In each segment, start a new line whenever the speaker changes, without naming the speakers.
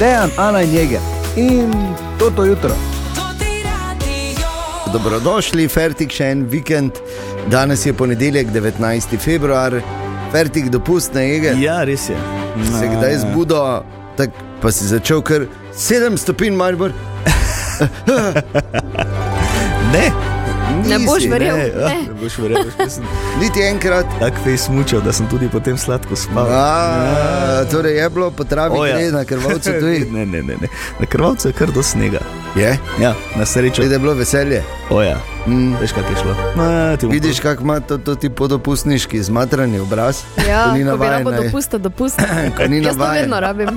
Dejan, Ana in Jeger in toto jutro.
Dobrodošli, Fertik še en vikend. Danes je ponedeljek, 19. februar, Fertik dopust na Ege.
Ja, res je.
Se kdaj zbudo, tak pa si začel kar 7 stopinj Maribor.
Ne,
Ne
Nisi,
boš
ne,
verjel.
ja,
Ne.
ne boš verjel. jaz sem
Niti enkrat.
Tako fejs mučil, da sem tudi potem sladko spal.
A, torej je bilo po travi
O, ja.
gre na krvavcu tudi.
ne, ne, ne, ne. Na krvavcu je kar do snega.
Je,
Ja, na srečo.
Čuj, da je bilo veselje.
Oja,
Mm.
veš kak je šlo. Ma, ti bom-
Vidiš, kako ima to, to ti podopustniški, zmatrani obraz.
Ja,
Ko ni
ko bi
navajen,
rabo
ne.
dopusta, dopusta.
Ko ni
Jaz to
navajen.
vedno rabim.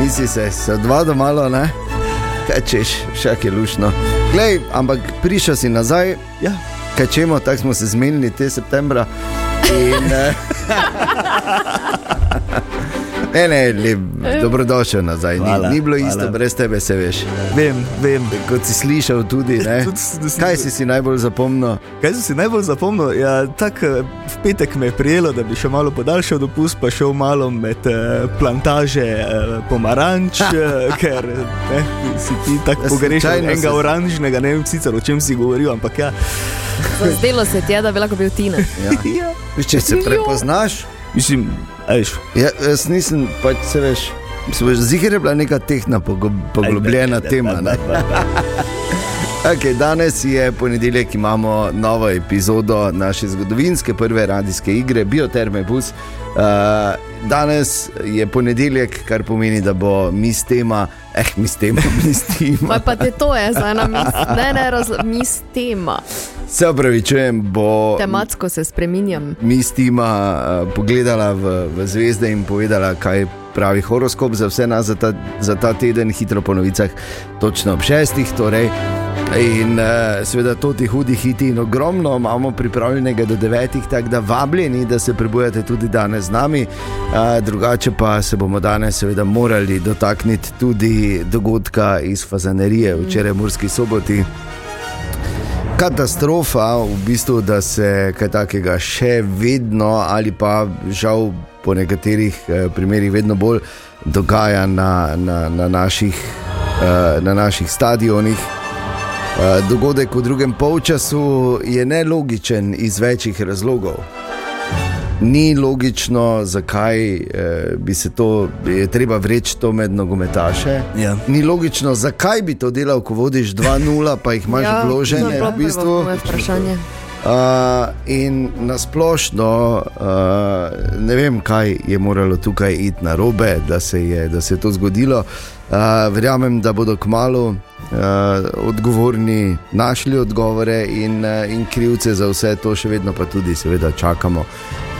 Nisi se, so dva do malo, ne? Kaj češ, však je lušno. Glej, ampak prišel si nazaj,
Ja,
kaj čemo, tako smo se zmenili te septembra. In, eh, ne, ne, lep, dobrodošel nazaj.
Hvala,
ni, ni bilo
hvala.
isto, brez tebe se veš.
vem, vem.
Kot si slišal tudi, ne?
Tudi s- s-
Kaj si si najbolj zapomnil?
Kaj sem si najbolj zapomnil? Ja, tak, eh, v petek me je prijelo, da bi še malo podaljšal dopust, pa šel malo med eh, plantaže eh, pomaranč, eh, ker ne, si ti tako
Ja,
pogrešal
slučajno
enega
se-
oranžnega, ne vem sicer o čem si govoril, ampak ja.
Zdelo se ti je, da bi lahko bil Tina.
Ja.
ja.
Veš, Če se
Jo.
prepoznaš,
Mislim, ajš,
ja, jaz nisem, pač se veš. Zihar je bila neka tehna, pogo- poglobljena tema. Ne? Okay, danes je ponedeljek, imamo novo epizodo naše zgodovinske prve radijske igre Bioterme Bus. Uh, danes je ponedeljek, kar pomeni, da bo mis tema, eh, mis tema, mis tema.
Ma pa te to je za ena mis, ne, ne, raz, mis tema.
Se opravičujem, bo
Tematsko se spreminjam.
mis tema uh, pogledala v, v zvezde in povedala, kaj pravi horoskop za vse nas za ta, za ta teden, hitro po novicah, točno ob šestih. Torej. In uh, seveda to ti hudi hiti in ogromno imamo pripravljenega do devetih, tako da vabljeni, da se prebujate tudi danes z nami. Uh, drugače pa se bomo danes seveda morali dotakniti tudi dogodka iz Fazanerije, včeraj v Murski soboti katastrofa, v bistvu, da se kaj takega še vedno, ali pa žal po nekaterih eh, primerih, vedno bolj dogaja na, na, na, naših, eh, na naših stadionih. Eh, Dogodek v drugem polčasu je nelogičen iz večjih razlogov. Ni logično, zakaj eh, bi se to, je treba vreči to med nogometaše.
Ja.
Ni logično, zakaj bi to delal, ko vodiš 2-0, pa jih imaš
ja,
vložene.
to je bilo
v bistvu.
moje vprašanje.
Uh, in nasplošno, uh, ne vem, kaj je moralo tukaj iti na robe, da, se je- da se je to zgodilo. Uh, verjamem, da bodo kmalo uh, odgovorni našli odgovore in, uh, in krivce za vse to, še vedno pa tudi, seveda, čakamo.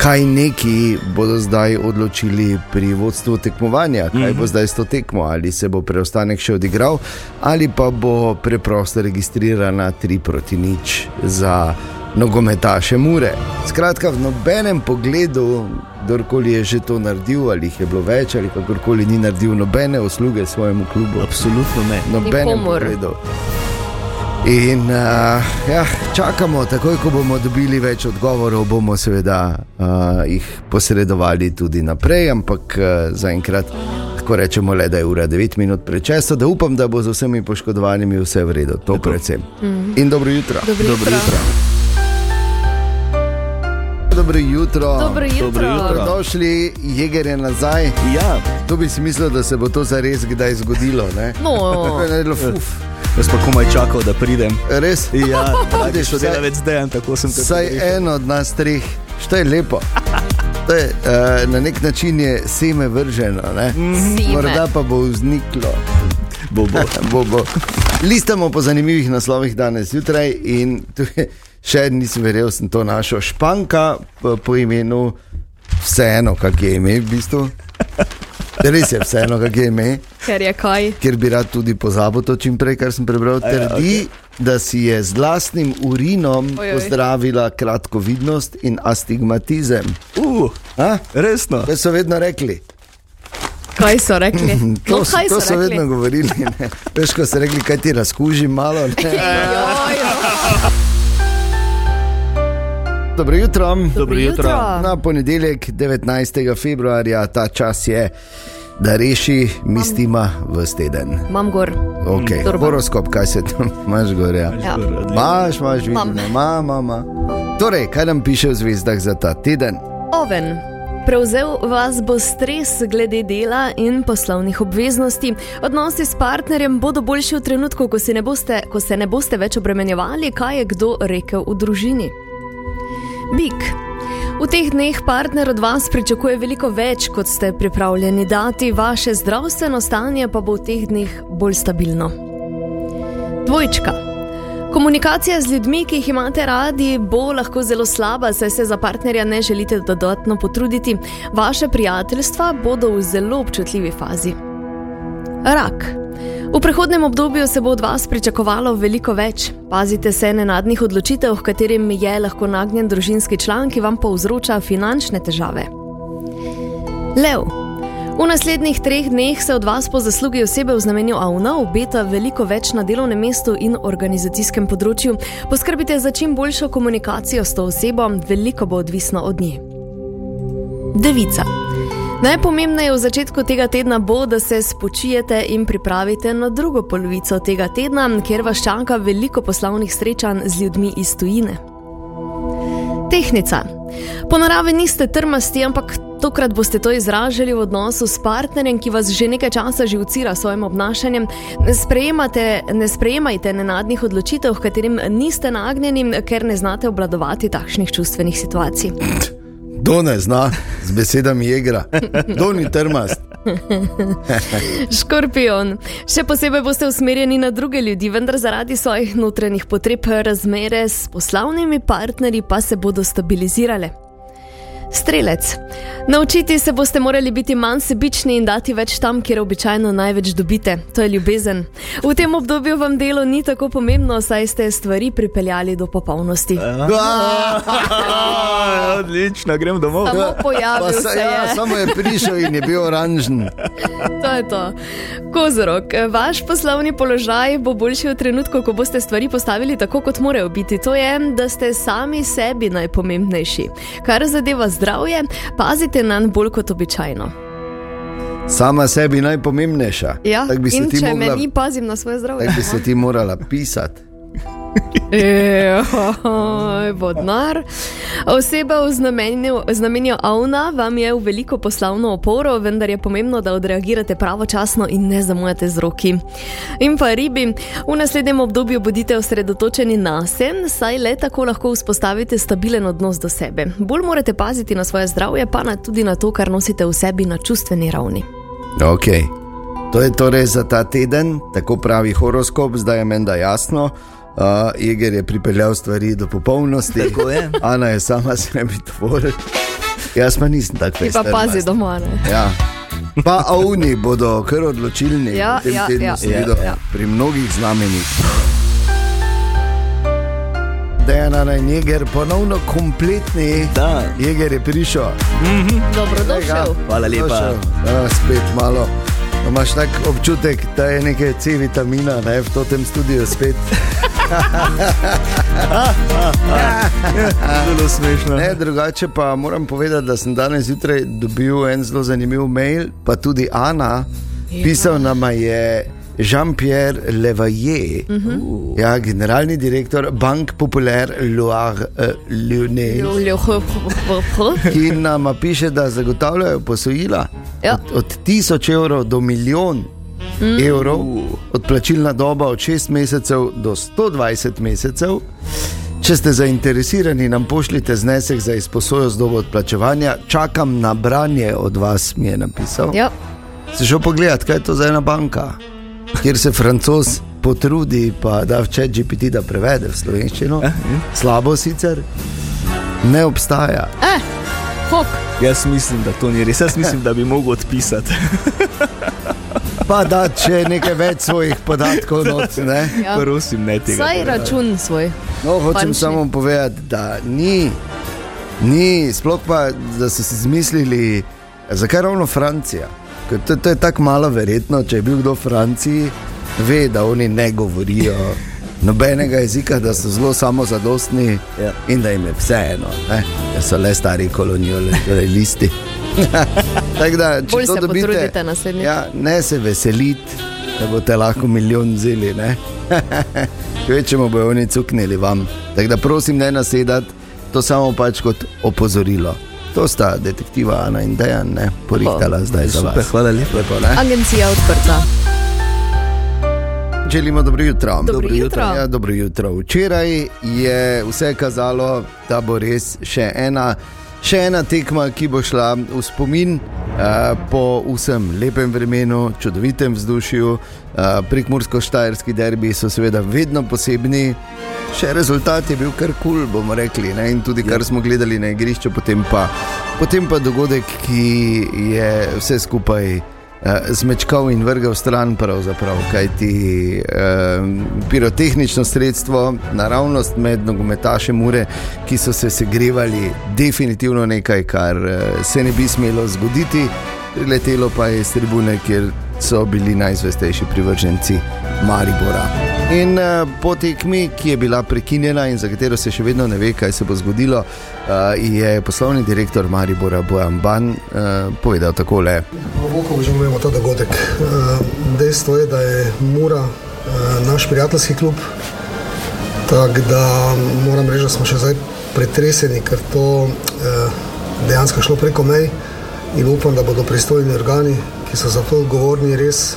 Kaj neki bodo zdaj odločili pri vodstvu tekmovanja, kaj mm -hmm. bo zdaj s to tekmo, ali se bo preostanek še odigral, ali pa bo preprosto registrirana 3 proti nič za nogometaše Mure. Skratka, v nobenem pogledu, kdorkoli je že to naredil, ali jih je bilo več, ali kakorkoli ni naredil nobene usluge svojemu klubu.
Absolutno ne.
Nobenem
Nikomur.
pogledu. In uh, ja, čakamo, takoj ko bomo dobili več odgovorov, bomo seveda uh, jih posredovali tudi naprej, ampak uh, zaenkrat lahko rečemo le, da je ura 9 minut prečesto, da upam, da bo z vsemi poškodovanimi vse v redu, to predvsem.
Mhm.
In dobro jutro.
Dobro jutro. Dobro
Dobro jutro.
jutro.
Dobro jutro.
Dobrodošli, jeger je nazaj.
Ja,
To bi si mislil, da se bo to zares kdaj zgodilo. Ne?
No.
Ne, ne, fuf,
jaz pa komaj čakal, da pridem.
res.
Ja,
Vidiš,
vidiš,
vsaj-
sodelavec dejan, tako sem te
Vsaj en od nas treh, što je lepo. To je, eh, na nek način je seme vrženo, ne?
Sime.
morda pa bo vzniklo.
Bobo.
bo, bo. Listamo po zanimivih naslovih danes zjutraj in tu je še en, nisem verjel, sem to našel. Španka po, po imenu, vseeno, kak je ime v bistvu. Res je vseeno, kak je ime,
Ker je kaj.
ker bi rad tudi pozabil to čim prej, kar sem prebral. Trdi, da si je z lastnim urinom
Ojoj.
pozdravila kratkovidnost in astigmatizem.
Uh,
A?
resno.
To so vedno rekli.
Kaj so rekli?
To,
no,
so-
kaj
to
so
so
rekli?
vedno govorili. ne. Veš, ko so rekli, kaj ti razkuži malo. Ne?
Joj, joj.
Dobro jutro.
Dobro jutro.
Na ponedeljek, 19. februarja, ta čas je da reši mistima v steden.
Imam gor.
Okay.
Turban.
Horoskop, kaj se tam imaš, gorja.
Ja.
Maš, imaš, vidiš,
Imam.
ima, ima. Torej, kaj nam piše v zvezdah za ta teden?
Oven. Prevzel vas bo stres glede dela in poslovnih obveznosti. Odnosi s partnerjem bodo boljši v trenutku, ko, si ne boste, ko se ne boste več obremenjevali, kaj je kdo rekel v družini. Bik. V teh dneh partner od vas pričakuje veliko več, kot ste pripravljeni dati, vaše zdravstveno stanje pa bo v teh dneh bolj stabilno. Dvojčka. Komunikacija z ljudmi, ki jih imate radi, bo lahko zelo slaba, saj se za partnerja ne želite dodatno potruditi. Vaše prijateljstva bodo v zelo občutljivi fazi. Rak. V prihodnem obdobju se bo od vas pričakovalo veliko več. Pazite se nenadnih odločitev, h katerim je lahko nagnjen družinski član, ki vam povzroča finančne težave. Lev. V naslednjih treh dneh se od vas po zaslugi osebe v znamenju AUNA obeta veliko več na delovnem mestu in organizacijskem področju. Poskrbite za čim boljšo komunikacijo s to osebo, veliko bo odvisno od nje. Devica. Najpomembneje v začetku tega tedna bo, da se spočijete in pripravite na drugo polovico tega tedna, kjer vas čaka veliko poslovnih srečanj z ljudmi iz tujine. Tehnica. Po naravi niste trmasti, ampak tokrat boste to izražali v odnosu s partnerjem, ki vas že nekaj časa živcira s svojim obnašanjem. Ne, sprejemate- ne sprejemajte nenadnih odločitev, h katerim niste nagnjeni, ker ne znate obladovati takšnih čustvenih situacij.
Kdo ne zna, z besedami je igra, kdo ni trmast.
Škorpion. Še posebej boste usmerjeni na druge ljudi, vendar zaradi svojih notranjih potreb razmere s poslovnimi partnerji pa se bodo stabilizirale. Strelec. Naučiti se boste morali biti manj sebični in dati več tam, kjer običajno največ dobite, to je ljubezen. V tem obdobju vam delo ni tako pomembno, saj ste stvari pripeljali do popolnosti.
Eh,
Ah, Odlično, grem domov.
Samo pojavil
Pa
se je.
ja, samo je prišel in je bil oranžen.
To je to. Kozorog, vaš poslovni položaj bo boljši v trenutku, ko boste stvari postavili tako, kot morajo biti. To je, da ste sami sebi najpomembnejši. Kar zadeva zdravje, pazite na bolj kot običajno.
Sama sebi najpomembnejša.
Ja,
Tako bi se
in
ti
če
mogla,
me ni, pazim na svoje zdravje.
tako bi se ti morala pisati.
Ejoj, Vodnar. Oseba v znamenju, znamenju Avna vam je v veliko poslovno oporo, vendar je pomembno, da odreagirate pravočasno in ne zamujate z roki. In pa ribi, v naslednjem obdobju bodite osredotočeni na sen, saj le tako lahko vzpostavite stabilen odnos do sebe. Bolj morate paziti na svoje zdravje, pa na, tudi na to, kar nosite v sebi na čustveni ravni.
Okay. To je torej za ta teden, tako pravi horoskop, zdaj je menda jasno. Uh, Jeger je pripeljal stvari do popolnosti, tako je. Ana je sama sebi tvor. Jaz pa nisem tako
Ti pa
pester,
pazi
veste.
doma. Ne?
Ja. Pa avni bodo kar odločilni,
Ja,
v tem
ja,
tednu
ja,
sem
ja,
videl
ja.
pri mnogih znamenjih. Dejana Rajneger, ponovno kompletni.
Da.
Jeger je prišel.
Dobrodošel.
Hvala lepa.
Da, spet malo. No, Imaš tak občutek, da je nekaj C vitamina ne, v tem studiu spet.
Zelo smešno.
Ne, drugače pa moram povedati, da sem danes zjutraj dobil en zelo zanimiv mail, pa tudi Ana. Pisal nam je Jean-Pierre Levaje, uh -huh. ja, generalni direktor Bank Populaire eh, Loire-Lyonnais. ki nam piše, da zagotavljajo posojila
Ja.
od, od 1000 evrov do milijon mm. evrov, odplačilna doba od 6 mesecev do 120 mesecev. Če ste zainteresirani, nam pošljite znesek za izposojo z dobo odplačevanja. Čakam na branje od vas, mi je napisal.
Ja,
Si šel pogledat, kaj je to za ena banka, kjer se francos potrudi, pa da vče GPT da prevede v slovenščino. Slabo sicer ne obstaja.
hok.
Jaz mislim, da to ni res. Jaz mislim, da bi mogel odpisati.
Pa da, če nekaj več svojih podatkov noč. Ne?
Ja.
Prosim, ne tega.
torej
Saj račun svoj.
No, hočem
Končni.
Pančni. samo povedati, da ni, ni, sploh pa, da so si izmislili, zakaj ravno Francija. Ker to, to je tako malo verjetno, če je bil kdo v Franciji, ve, da oni ne govorijo nobenega jezika, da so zelo samozadostni
Ja.
in da jim je vseeno, ne? da so le stari kolonialisti. Tako da, če
Bolj
to
se
dobite,
potrudite naslednjič.
Ja, ne se veseliti, da boste lahko milijon vzeli. ne. Kvečemo bojo oni cuknili vam. Tako da prosim, ne nasedati, to samo pač kot opozorilo. To sta detektiva Ana in Dejan, ne porihtala zdaj za
Super,
vas.
hvala lepa.
Lepo, ne?
Agencija odprta.
Želimo dobro jutro.
Dobro jutro.
Ja, dobro jutro. Včeraj je vse kazalo, da bo res še ena, še ena tekma, ki bo šla v spomin eh, po vsem lepem vremenu, čudovitem vzdušju. Eh, Prekmursko-štajerski derbi so seveda vedno posebni. Še rezultat je bil kar kul, cool, bomo rekli, ne? in tudi
Ja.
kar smo gledali na igrišču, potem pa, potem pa dogodek, ki je vse skupaj eh, zmečkal in vrgel stran, pravzaprav, kajti eh, pirotehnično sredstvo, naravnost med nogometašem ure, ki so se segrevali, definitivno nekaj, kar eh, se ne bi smelo zgoditi. Letelo pa je iz tribune, kjer so bili najzvestejši privrženci Maribora. In eh, po tekmi, ki je bila prekinjena in za katero se še vedno ne ve, kaj se bo zgodilo, eh, je poslovni direktor Maribora Bojan Ban eh, povedal takole.
Globoko obžalujemo ta dogodek. Eh, Dejstvo je, da je Mura eh, naš prijateljski klub, tako da moram reči, da smo še zdaj pretreseni, ker to eh, dejansko je šlo preko mej in upam, da bodo pristojni organi, ki so za to odgovorni, res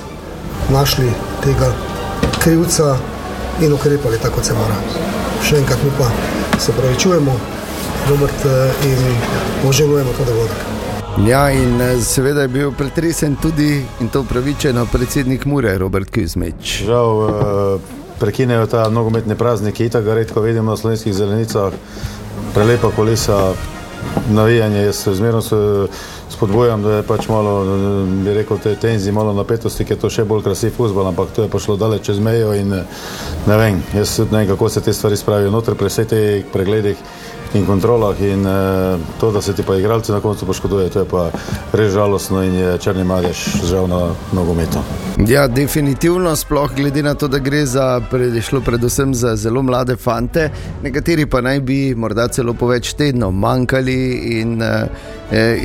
našli tega krivca in ukrepali tako, kot se mora. Še enkrat mi pa se pravičujemo, Robert, eh, in obžalujemo ta dogodek.
Ja, in eh, seveda je bil pretresen tudi in to upravičeno predsednik Mure, Robert Kuzmič.
Žal eh, prekinejo ta nogometni praznik, ki ga redko vidimo na slovenskih zelenicah, prelepa kolesa, navijanje. Jaz zmerno se spodbujam, da je pač malo, eh, bi rekel, te tenzi, malo napetosti, ker je to še bolj krasiv futbol, ampak to je pošlo daleč čez mejo in eh, ne vem, jaz tudi ne vem, kako se te stvari spravijo noter pri vseh teh pregledih. In kontrolah, in eh, to, da se ti pa igralci na koncu poškoduje, to je pa res žalostno in je črni madež žal na nogometu.
Ja, definitivno, sploh glede na to, da gre za, pred, šlo predvsem za zelo mlade fante, nekateri pa naj bi morda celo po več tednov manjkali in eh,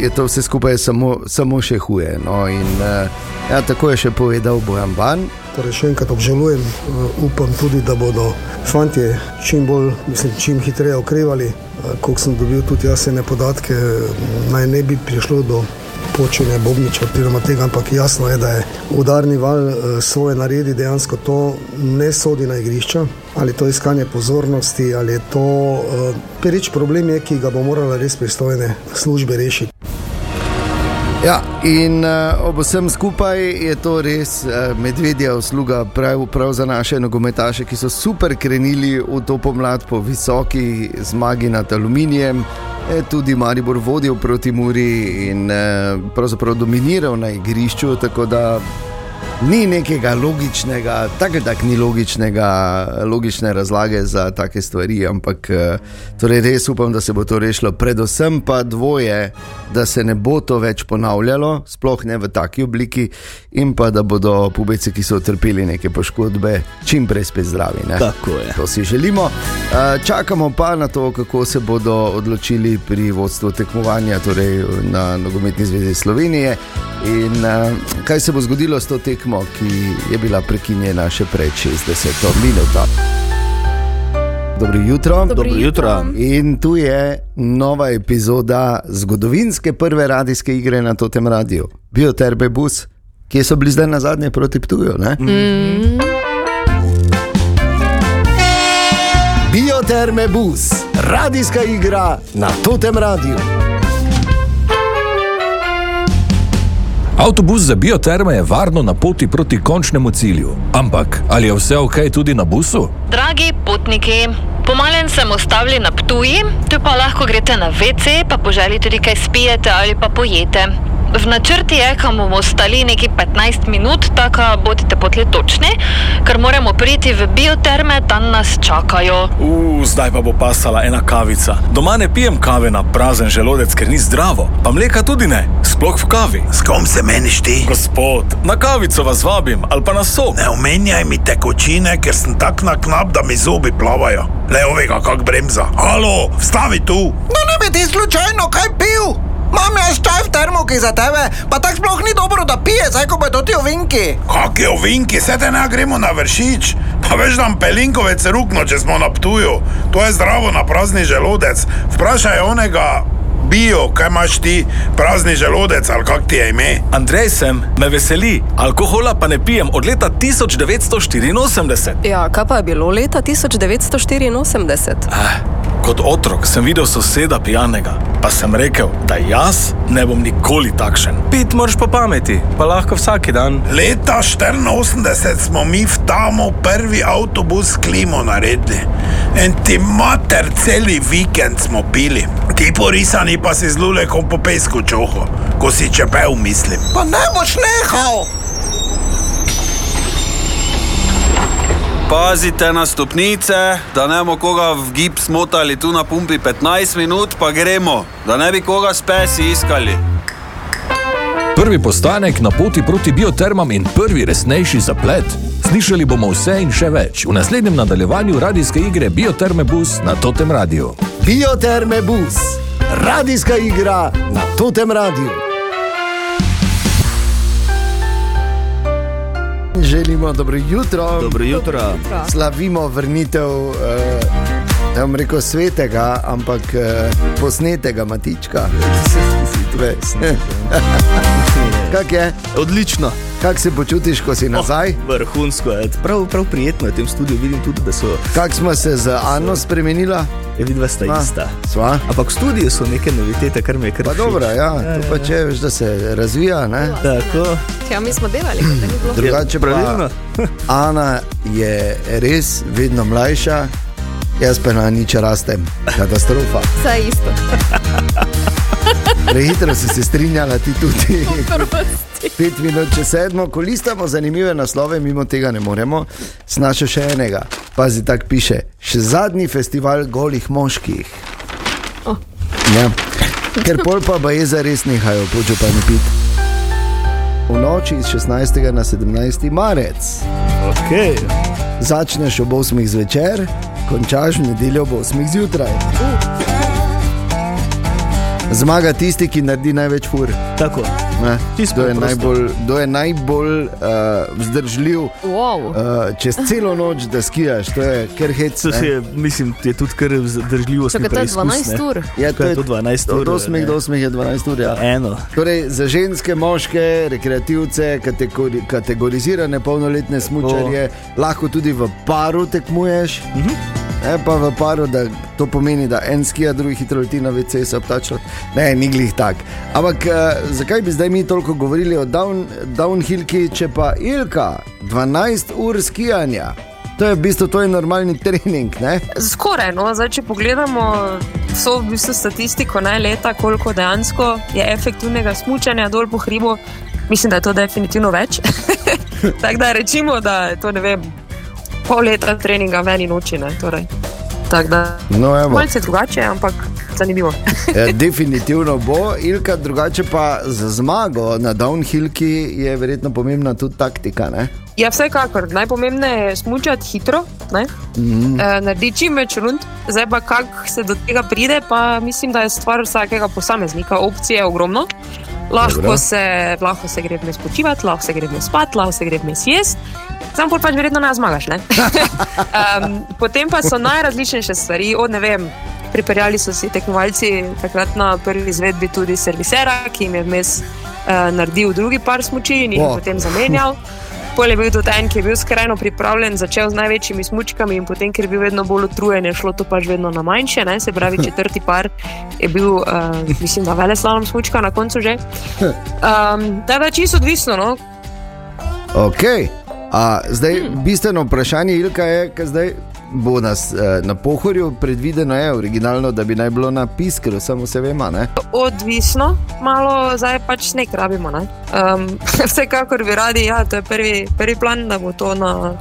je to vse skupaj samo, samo še huje. No? In, eh, ja, tako je še povedal Bojan Ban.
Torej, še enkrat obžalujem, Eh, upam tudi, da bodo fantje čim bolj, mislim, čim hitreje okrevali. Eh, Koliko sem dobil tudi jaz ene podatke, eh, naj ne bi prišlo do počenja Bobniča, oziroma tega, ampak jasno je, da je udarni val eh, svoje naredi dejansko to ne sodi na igrišča, ali je to iskanje pozornosti, ali je to eh, pereč problem, je, ki ga bo morala res pristojne službe rešiti.
Ja, in uh, ob vsem skupaj je to res uh, medvedja usluga, prav, prav za naše nogometaše, ki so super krenili v to pomlad po visoki zmagi nad aluminijem. E, tudi Maribor vodil proti Muri in eh, pravzaprav dominiral na igrišču, tako da ni nekega logičnega, tako ali tako ni logičnega, logične razlage za take stvari, ampak eh, torej res upam, da se bo to rešilo. Predvsem pa dvoje, da se ne bo to več ponavljalo, sploh ne v taki obliki, in pa da bodo pubeci, ki so utrpeli neke poškodbe, čim prej spet zdravi. Ne?
Tako je.
To si želimo. Eh, Čakamo pa na to, kako se bodo odločili pri vodstvu tekmovanja, torej na Nogometni zvezi Slovenije. In eh, kaj se bo zgodilo s to tekmo, ki je bila prekinjena še pred 60 minuto. Dobro jutro.
Dobro jutro.
In tu je nova epizoda zgodovinske prve radijske igre na tem radiju, Bioterbe Bus, kje so bili zdaj na zadnje proti Ptuju. Mm. Bioterme Bus, radijska igra na tem radiju.
Avtobus za bioterme je varno na poti proti končnemu cilju. Ampak ali je vse ok tudi na busu?
Dragi potniki, pomalen sem ostavljen na Ptuji, tu pa lahko greste na WC, pa po želji tudi kaj spijete ali pa pojete. V načrti je, kam bomo ostali neki 15 minut, tako da bodite potli točni, ker moramo priti v bioterme, tam nas čakajo.
Uf, zdaj pa bo pasala ena kavica. Doma ne pijem kave na prazen želodec, ker ni zdravo, pa mleka tudi ne, sploh v kavi.
S kom se meniš ti?
Gospod, na kavico vas vabim, ali pa na sok.
Ne omenjaj mi tekočine, ker sem tak na knap, da mi zobi plavajo. Le ovega, kak bremza. Halo, vstavi tu! No, ne bi ti slučajno kaj pil!
Mam jaz čaj v termoki za tebe, pa tako sploh ni dobro, da pije, zdaj ko bodo ti ovinki.
Kaki ovinki, se te ne gremo na vršič, pa veš nam pelinkovec rukno, če smo na ptuju. To je zdravo na prazni želodec. Vprašaj onega bio, kaj imaš ti, prazni želodec ali kak ti je ime.
Andrej sem, me veseli, alkohola pa ne pijem od leta 1984.
Ja, kaj pa je bilo leta 1984?
Eh, Kot otrok sem videl soseda pijanega, pa sem rekel, da jaz ne bom nikoli takšen.
Pit moraš po pameti, pa lahko vsak dan.
Leta 84 smo mi v Tamu prvi avtobus s klimo naredili. En ti mater, celi vikend smo pili. Ti porisani pa si z lulekom po pesku čoho, ko si čepel, mislim.
Pa ne boš nehal.
Pazite na stopnice, da ne bomo koga v gib smotali tu na pumpi 15 minut, pa gremo, da ne bi koga s pesi iskali.
Prvi postanek na poti proti biotermam in prvi resnejši zaplet. Slišali bomo vse in še več v naslednjem nadaljevanju radijske igre Bioterme Bus na Totem Radiu.
Bioterme Bus, radijska igra na Totem Radiu.
Želimo dobro jutro.
Dobro jutro. Dobro jutro.
Slavimo vrnitev, eh, ne bom rekel svetega, ampak eh, posnetega matička. Kak je?
Odlično.
Kako se počutiš, ko si nazaj?
Oh, vrhunsko je, prav, prav prijetno je v tem studiu, vidim tudi, da so.
Kako smo se z Anno spremenila?
Je vidva sta
Sva.
ista.
Sva?
Ampak v studiu so neke novitete, kar mi je kar.
Ah. Pa
všeč.
dobro, ja, to pa če veš, da se razvija. Ne?
Tako.
Ja, mi smo delali, kot da ni bilo.
Drugače pa,
Pravilno.
Ana je res vedno mlajša, jaz pa na nič rastem. Katastrofa.
Vse isto.
Prehitro si se strinjala, ti tudi. Pet minut čez sedmo, ko listamo zanimive naslove, mimo tega ne moremo, snašel še enega. Pazi, tako piše, še zadnji festival golih moških.
O.
Ja. Ker pol pa je za res nehajo, počo pa ne pit. V noči iz 16. na 17. marec.
Okay.
Začneš ob 8. zvečer, končaš v nedeljo ob 8. zjutraj. Zmaga tisti, ki naredi največ fur.
Tako.
Ne, kdo je
preprosto.
najbolj, kdo je najbolj uh, vzdržljiv
Wow.
uh, čez celo noč, da skijaš, to je kar hec.
To si je, mislim, je tudi kar zdržljivo.
Čakaj, to je 12 ur.
Ja,
to je to 12 ur.
Od 8
ne. E,
do 8 je 12 ur. Ja.
Eno.
Torej, za ženske, moške, rekreativce, kategori, kategorizirane polnoletne smočarje, lahko tudi v paru tekmuješ. Uh -huh. E, pa v paru, da to pomeni, da en skija, drugi hitro leti na VC, se obtača. Ne, ni glih tak. Ampak eh, zakaj bi zdaj mi toliko govorili o down, downhillki, če pa Ilka 12 ur skijanja? To je v bistvu to je normalni trening, ne?
Skoraj, no, zdaj, če pogledamo vso v bistvu statistiko, ne leta, koliko dejansko je efektivnega smučanja dol po hribu, mislim, da je to definitivno več. Tako da rečemo, da je to ne vem, pol leta treninga ven in oči. ne, Torej. Tako da
No, evo.
malce drugače, ampak zanimivo.
Ja, Definitivno bo, Ilka, drugače pa za zmago na downhillki je verjetno pomembna tudi taktika. Ne?
Ja, vsekakor najpomembneje je smučati hitro, ne?
Mm.
e, naredi čim več rund, zdaj pa kako se do tega pride, pa mislim, da je stvar vsakega posameznika. Opcije je ogromno.
Dobro.
Lahko se, lahko se gre vmes počivati, lahko se gre vmes spati, lahko se gre vmes jesti. Sam pol pač verjetno ne zmagaš. Ne? um, potem pa so najrazličnejše stvari, od ne vem. Pripeljali so si tekmovalci takrat na prvi izvedbi tudi servisera, ki jim je vmes uh, naredil drugi par smoči in jih
O.
oh. potem zamenjal. Pol je bil tudi en, ki je bil skrajno pripravljen, začel z največjimi smočkami in potem, ker je bil vedno bolj utrujen, je šlo to pač vedno na manjše. Ne? Se pravi, četrti par je bil, uh, mislim, da veleslalom smočka na koncu že. Um, tako da je čisto odvisno, no?
Okay. A, zdaj, hmm. Bistveno vprašanje Ilka je, kaj zdaj bo nas eh, na pohorju predvideno, je originalno, da bi naj bilo na piskru, samo se vema. Ne?
odvisno, malo zdaj pač ne rabimo. Ne? Um, vsekakor bi radi, ja, to je prvi, prvi plan, da bo to na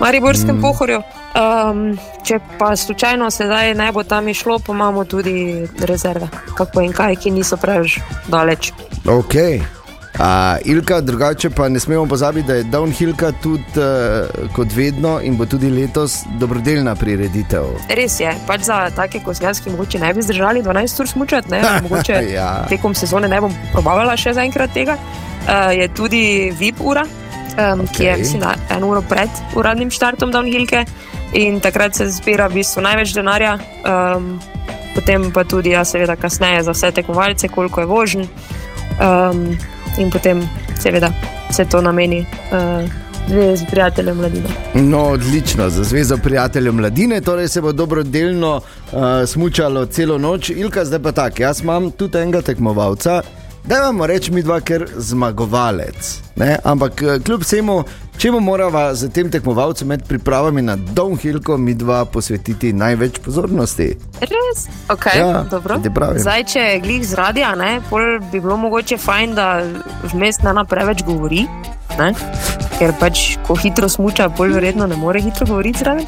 Mariborskem
Mm.
mm. pohorju. Um, če pa slučajno se zdaj ne bo tam išlo, pa imamo tudi rezerve, kako in kaj, ki niso preveč daleč.
Okay. A, Ilka, drugače pa ne smemo pozabiti, da je Downhillka tudi uh, kot vedno in bo tudi letos dobrodelna prireditev.
Res je, pač za take kosjanske mogoče ne bi zdržali 12 ur smučati, ne, ali mogoče
Ja.
ja. tekom sezone ne bom probavala še zaenkrat tega. Uh, je tudi VIP ura, um, okay. ki je
Okej.
mislim, da eno uro pred uradnim štartom downhillke in takrat se zbira v bistvu največ denarja. Um, potem pa tudi, ja, seveda, kasneje za vse tekmovalce, koliko je vožen. Um, in potem, seveda, se to nameni uh, dve z prijateljem mladine.
No, odlično, za Zvezo prijateljev mladine, torej se bo dobrodelno uh, smučalo celo noč. Ilka, zdaj pa tak, jaz imam tudi enega tekmovalca. Da imamo reči mi dva, ker zmagovalec. Ne? Ampak eh, kljub vsemu, čemu morava z tem tekmovalcem med pripravami na Downhillko mi dva posvetiti največ pozornosti?
Res? Okay,
Ja,
dobro.
ti pravim.
Zdaj, če je glih z radia, ne, pol bi bilo mogoče fajn, da vmes ne ena preveč govori. Ne? Ker pač, ko hitro smuča, bolj verjetno ne more hitro govoriti zraven.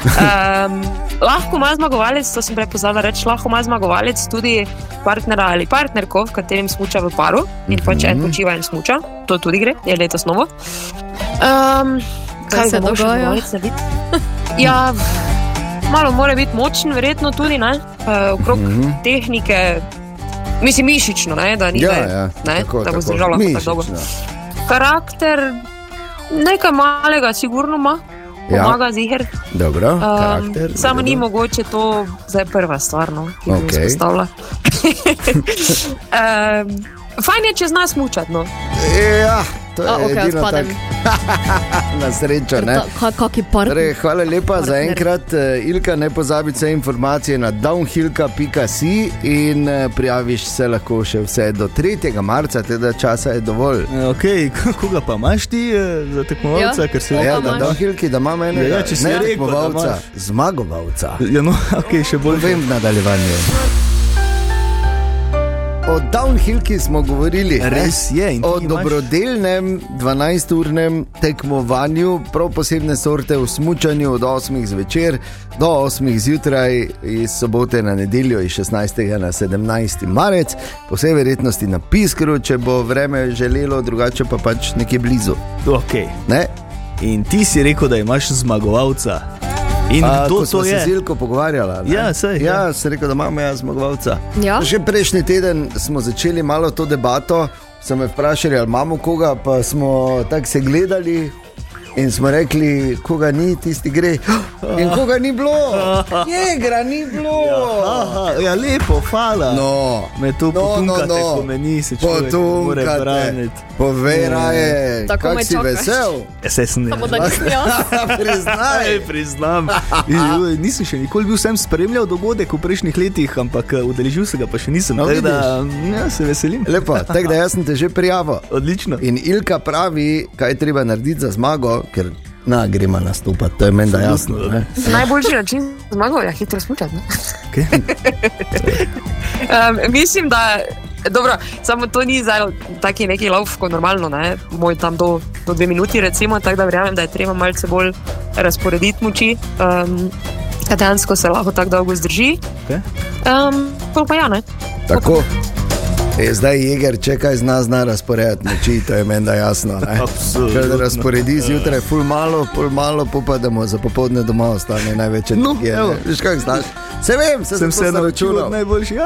Um, lahko ima zmagovalec, to sem prej pozvala reči, lahko ima zmagovalec tudi partnera ali partnerko, v katerem smuča v paru in pač
Mhm.
en počiva in smuča, to tudi gre, je letos novo. Um,
Kaj se
bo moral še
dogaja?
zmagovalec narediti? Ja, malo mora biti močen, verjetno tudi ne, uh, okrog
Mhm.
tehnike, mislim, mišično, ne, da ni
Ja,
več,
ja,
ne,
tako,
da bo
tako.
zdržala lahko tako dolgo.
Mišično.
Karakter, nekaj malega, sigurno ima,
Ja.
pomaga ja. ziger.
Dobro,
Um,
karakter,
samo
dobro.
ni mogoče to, zdaj prva stvar, no, ki okay.
Okej.
bi izpostavila. um, fajn je, če znaš mučati. No.
Ja, to
A, okej,
edino
odpadem.
Na srečo, ne.
Kaki partner?
Torej, hvala lepa za enkrat, eh, Ilka. Ne pozabi vse informacije na downhillka.si in eh, prijaviš se lahko še vse do 3. marca, teda časa je dovolj.
Okay, koga pa imaš ti eh, za tekmovalca? ker si-
Ja, ja, na downhillki, da imam enega,
Ja, ja, če si
ne
rekel, da
tekmovalca,
imaš.
zmagovalca.
Ja, no, okay, še bolj
vem v nadaljevanju. O downhillki smo govorili. ne?
Res je, in ti
O
imaš-
dobrodelnem 12-urnem tekmovanju, prav posebne sorte v smutku od 8 zvečer do 8 zjutraj, iz sobote na nedeljo, iz 16. na 17. marec, po vsej verjetnosti na Piskru, če bo vreme želelo, drugače pa pač nekje blizu.
Okay.
Ne?
In ti si rekel, da imaš zmagovalca. In
A,
kdo
ko
to
sva
je?
Se z Ilko pogovarjala. ne?
Ja, saj,
ja, ja. sem rekel, da imamo jaz zmagovalca.
Ja.
Že prejšnji teden smo začeli malo to debato, so me vprašali, ali imamo koga, pa smo tako se gledali. In smo rekli, koga ni, tisti gre.
Ah.
In koga ni bilo, njega ni bilo.
Aha, ja, lepo, hvala.
No,
Me tu
no, no,
potunkate, ko
no.
me nisi človek ne more
Potunkate.
braniti. Mm.
Povej raje,
Tako
kako
me
si
čakaš.
vesel.
Ja, saj sem ne.
Samo da nisem jaz. Priznaj.
Ej, priznam. In, uh, Nisem še nikoli bil sem spremljal dogodek v prejšnjih letih, ampak uh, udeležil se ga pa še nisem.
No,
tako da,
vidiš.
ja, se veselim.
Lepo, tako da jaz sem te že prijavil.
Odlično.
In Ilka pravi, kaj je treba narediti za zmago, ker na gremo nastopati, to je meni da jasno. ne.
Najboljši način zmagal je hitro smučati. ne. um, mislim, da. Dobro, samo to ni zdaj taki neki lov, kot normalno, ne? moj tam do, do dve minuti, recimo, tako da verjamem, da je treba malce bolj razporediti moči, um, da dejansko se lahko tako dolgo zdrži.
Okay.
Um, pol pa ja, ne.
Tako. E, zdaj je jeger, če kaj zna, zna razporediti noči, to je meni da jasno. ne.
Absolutno.
Ker da razporedi zjutraj, ful malo, ful malo, pa pa da mu za popoldne doma ostane največ energije.
evo.
No, Veš, kaj znaš? Se vem, se no.
Sem se naučil od
računal.
najboljših.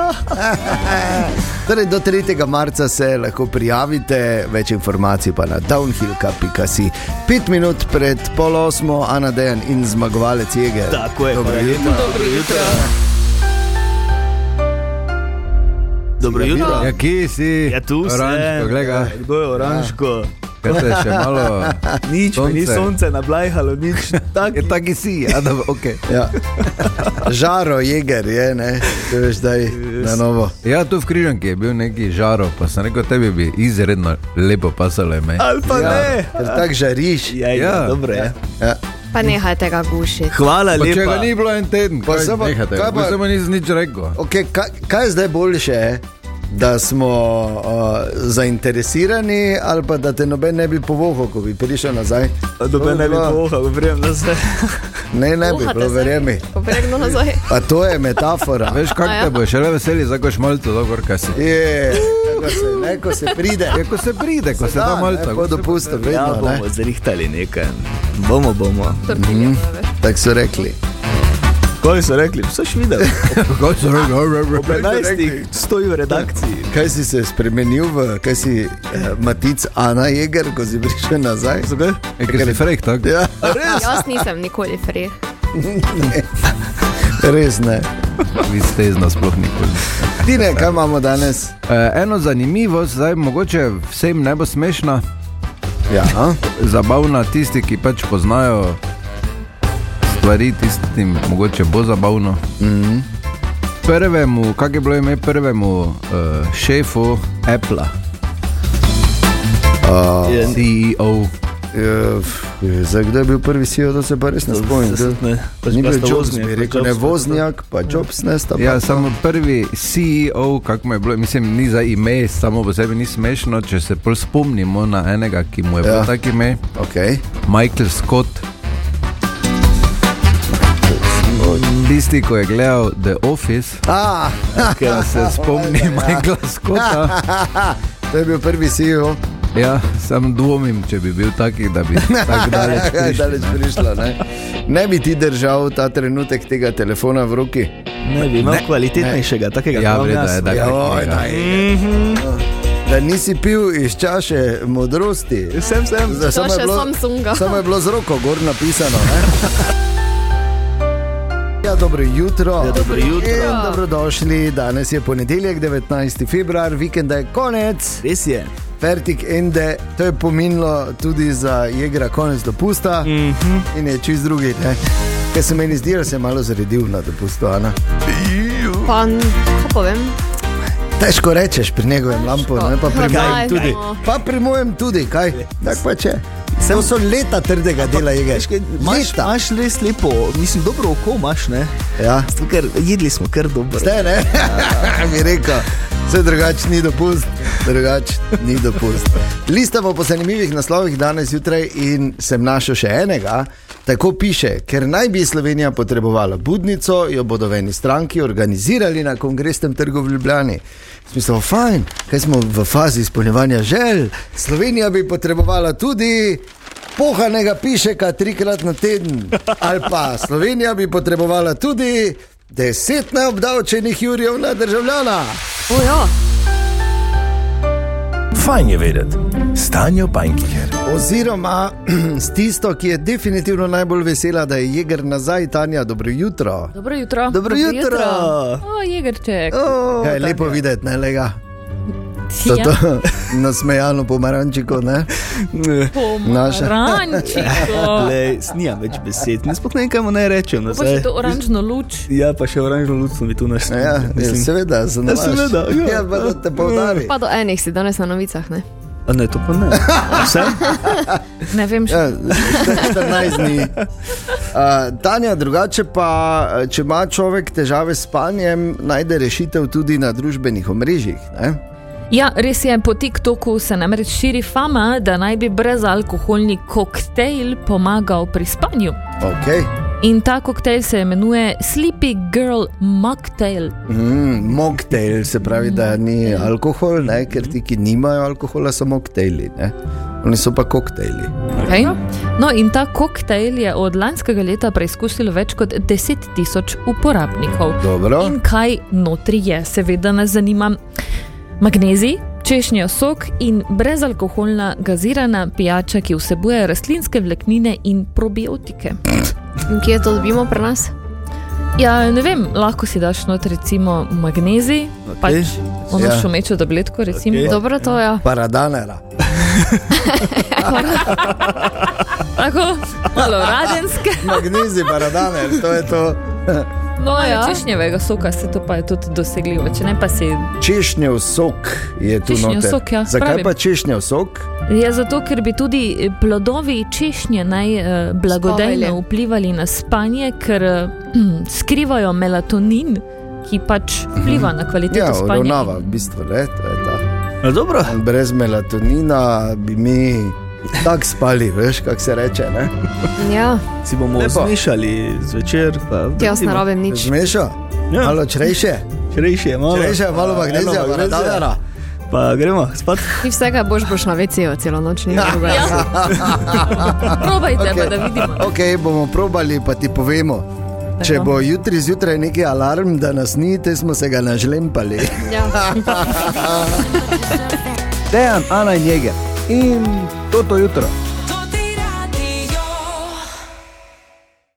Torej, do 3. marca se lahko prijavite, več informacij pa na downhill.com. Pet minut pred pol osmo, Ana Dejan in zmagovalec Jege.
Tako je,
Dobro
hvala
jutro.
lepa. Dobro jutro. Dobro jutro.
Ja,
kje si? Ja, tu si.
Oranžko, glej ga.
Kdo je oranžko?
Ja.
Kaj te je še malo
Nič, mi ni
sonce?
sonce nablajhalo, nič. Taki,
taki si, ja, dobro, okay. ja. Žaro Jeger je, ne, Te veš, da je na novo.
Ja, tu v Križanki je bil neki žaro, pa sem rekel, tebi bi izredno lepo pasalo ime.
Ali pa
ja.
ne.
Ker tako žariš.
Ja, ja,
Ja.
dobro je.
Ja.
Pa nehaj tega gušiti.
pa Če ga ni bilo en teden,
Pa
pa
se
sem
pa-
nehate,
kaj
pa
pa-
sem nisem nič rekel.
Okay, kaj, kaj je zdaj boljše? Da smo uh, zainteresirani, ali pa da te noben ne bi povohal, ko bi prišel nazaj.
Dobe ne bi
bilo-
pohal, govorim, da se.
Ne, ne bi
Vohate
bilo,
se?
verjemi.
Pobregno nazaj.
Pa to je metafora.
Veš,
A
kako
ja.
te boš, le veseli, zdaj ko šmalto, dobro, kaj si. E,
Je, ko se, ne, ko se pride.
Ja, ko se pride, ko se da malo tako,
Po dopustu, vedno.
Ja,
ne.
bomo zrihtali nekaj. Bomo, bomo.
Mhm. Tako so rekli.
Kaj so rekli? Vse še videl.
Kaj so rekli?
Ob 11. stoji v redakciji.
Kaj si se spremenil, v, kaj si eh, matic Ana Jeger, ko si prišel nazaj?
Zakaj?
Ja, ker si frek, tako.
Ja,
Jaz nisem nikoli freh.
res ne.
Vi ste iz nas sploh nikoli.
Tine, kaj imamo danes?
E, eno zanimivo, zdaj mogoče vsem ne bo smešna.
Ja.
Zabavna tisti, ki pač poznajo stvari, tistim mogoče bo zabavno. Mm -hmm. Prvemu, kak je bilo ime prvemu uh, šefu Apple,
Uh,
CEO.
Ja, Zakaj je bil prvi CEO, to se pa res ne spomnim.
se
To-
ne. Pač
Ni
pa
bil
sta
Jobs,
Wozniak,
bi
pa
rekel, ne
Jobs, pa
Voznjak, pa Jobs ne sta.
Ja, samo prvi CEO, kako mu je bilo, mislim, ni za ime, samo po sebi ni smešno, če se bolj spomnimo na enega, ki mu je
Ja.
ja. bilo tako ime.
Okay.
Michael Scott. Tisti, ki je gledal The Office,
Ah,
ker se spomni Michaela Scotta.
to je bil prvi E CEO.
Ja, sam dvomim, če bi bil taki, da bi tako daleč
Kaj
prišel.
daleč prišla, ne? ne bi ti držal ta trenutek tega telefona v roki.
Ne bi imel kvalitetnejšega, takega
Ja,
kot
vredno
jaz.
je, da je Joj, takega. da je. Da nisi pil iz čaše modrosti.
Sem, sem.
Zdaj, samo, je
Čaše
bilo,
Samsunga.
samo je bilo z roko gor napisano. Ne? Ja, dobro jutro. Ja,
dobro jutro.
In dobrodošli. Danes je ponedeljek, 19. februar, vikenda je konec.
Res je.
Fertik ende, to je pomenilo tudi za jegra konec dopusta mm
Mhm.
-hmm. in je čist drugi. Ne? Ker se meni zdi, da se je malo zredil na dopustu. a ne?
Pa, n- kaj povem?
Težko rečeš pri njegovem lampu, ne pa pri
Ja, daj,
mojem tudi.
no.
Pa pri mojem tudi, kaj? Tako pa če. Sem so leta trdega dela, je
Veš, kaj, Imaš, imaš res lepo, mislim, dobro oko imaš, ne?
Ja.
Zato, ker jedli smo kar dobro.
Ste, ne? Mi rekel, vse drugače ni dopust, drugače ni dopust. Listamo po zanimivih naslovih danes jutraj in sem našel še enega. Tako piše, ker naj bi Slovenija potrebovala budnico, jo bodo v eni stranki organizirali na kongresnem trgu v Ljubljani. Smisel, fajn, kaj smo v fazi izpolnjevanja želj. Slovenija bi potrebovala tudi pohanega pišeka trikrat na teden. Ali pa Slovenija bi potrebovala tudi deset neobdavčenih jurjev na državljana.
Ojo,
Fajn je vedeti, stanje pankiher.
Oziroma, s tisto, ki je definitivno najbolj vesela, da je jeger nazaj, Tanja, dobro jutro.
Dobro jutro.
Dobro jutro.
O, Jegrček.
Kaj je lepo videti, ne lega.
Ja.
To, to, nasmejano pomarančiko, ne? Naša.
Pomarančiko.
Lej, snijam več besed, ne sploh ne vem, kaj mu naj rečem.
Boš to oranžno luč.
Ja, pa še oranžno luč sem mi tu našel.
Ja, seveda, za
Ja,
nalašč.
seveda.
Ja, pa da te poudari.
Pa do enih si danes na novicah, ne?
A ne, to pa ne. Vse?
Ne vem še.
Ja, 14 dni. Uh, Tanja, drugače pa, eh, če ima človek težave s spanjem, najde rešitev tudi na družbenih omrežjih. Ne?
Ja, res je, po TikToku se namreč širi fama, da naj bi brezalkoholni koktejl pomagal pri spanju.
Okay.
In ta koktejl se imenuje Sleepy Girl Mocktail.
Mm, mocktail se pravi, da ni alkohol, ne? ker ti, ki nimajo alkohola, so mocktaili. Ne? Oni so pa koktejli.
Okay? No, in ta koktejl je od lanskega leta preizkusilo več kot 10 tisoč uporabnikov.
Dobro.
In kaj notri je, seveda nas zanima magnezij. Češnjev sok in brezalkoholna gazirana pijača, ki vsebuje rastlinske vlaknine in probiotike.
In kje to dobimo pri nas?
Ja, ne vem, lahko si daš not recimo magnezij, okay. pač ono
Ja.
ja. šumečo tabletko, recimo.
Okej.
Dobro, to ja. je.
Paradanera.
Tako, malo radenske.
Magnezij paradaner, to je to.
No, ja. Češnjevega soka se to pa je tudi dosegljivo, če ne pa si
Češnjev sok je tu
Češnjev
noter.
sok, ja,
Zakaj
pravim.
pa češnjev sok?
Je Ja, zato, ker bi tudi eh, plodovi češnje naj eh, blagodejno
Spavajle.
vplivali na spanje, ker eh, hm, skrivajo melatonin, ki pač vpliva na kvaliteto
Ja,
spanja.
uravnava, v bistvu. Ne, to je
ta. Dobro.
Brez melatonina bi mi tako spali, veš, kako se reče. Ne?
Ja,
Si bomo
Lepo.
slišali zvečer. pa
jaz ne
vidimo.
rabim nič.
Zmešal? Ja. Malo črejše.
Črejše, malo.
Črejše, malo
A,
magnezija, no.
eno magnezija.
paradanera.
pa gremo spat.
Ti vsega boš boš na VC-ju celo noč, ni druga.
Probajte,
okay.
da vidimo.
Ok, bomo probali, pa ti povemo. Tako. Če bo jutri zjutraj neki alarm, da nas ni, te smo se ga nažlempali.
Ja.
Dejan, Ana in Jeger. In toto jutro.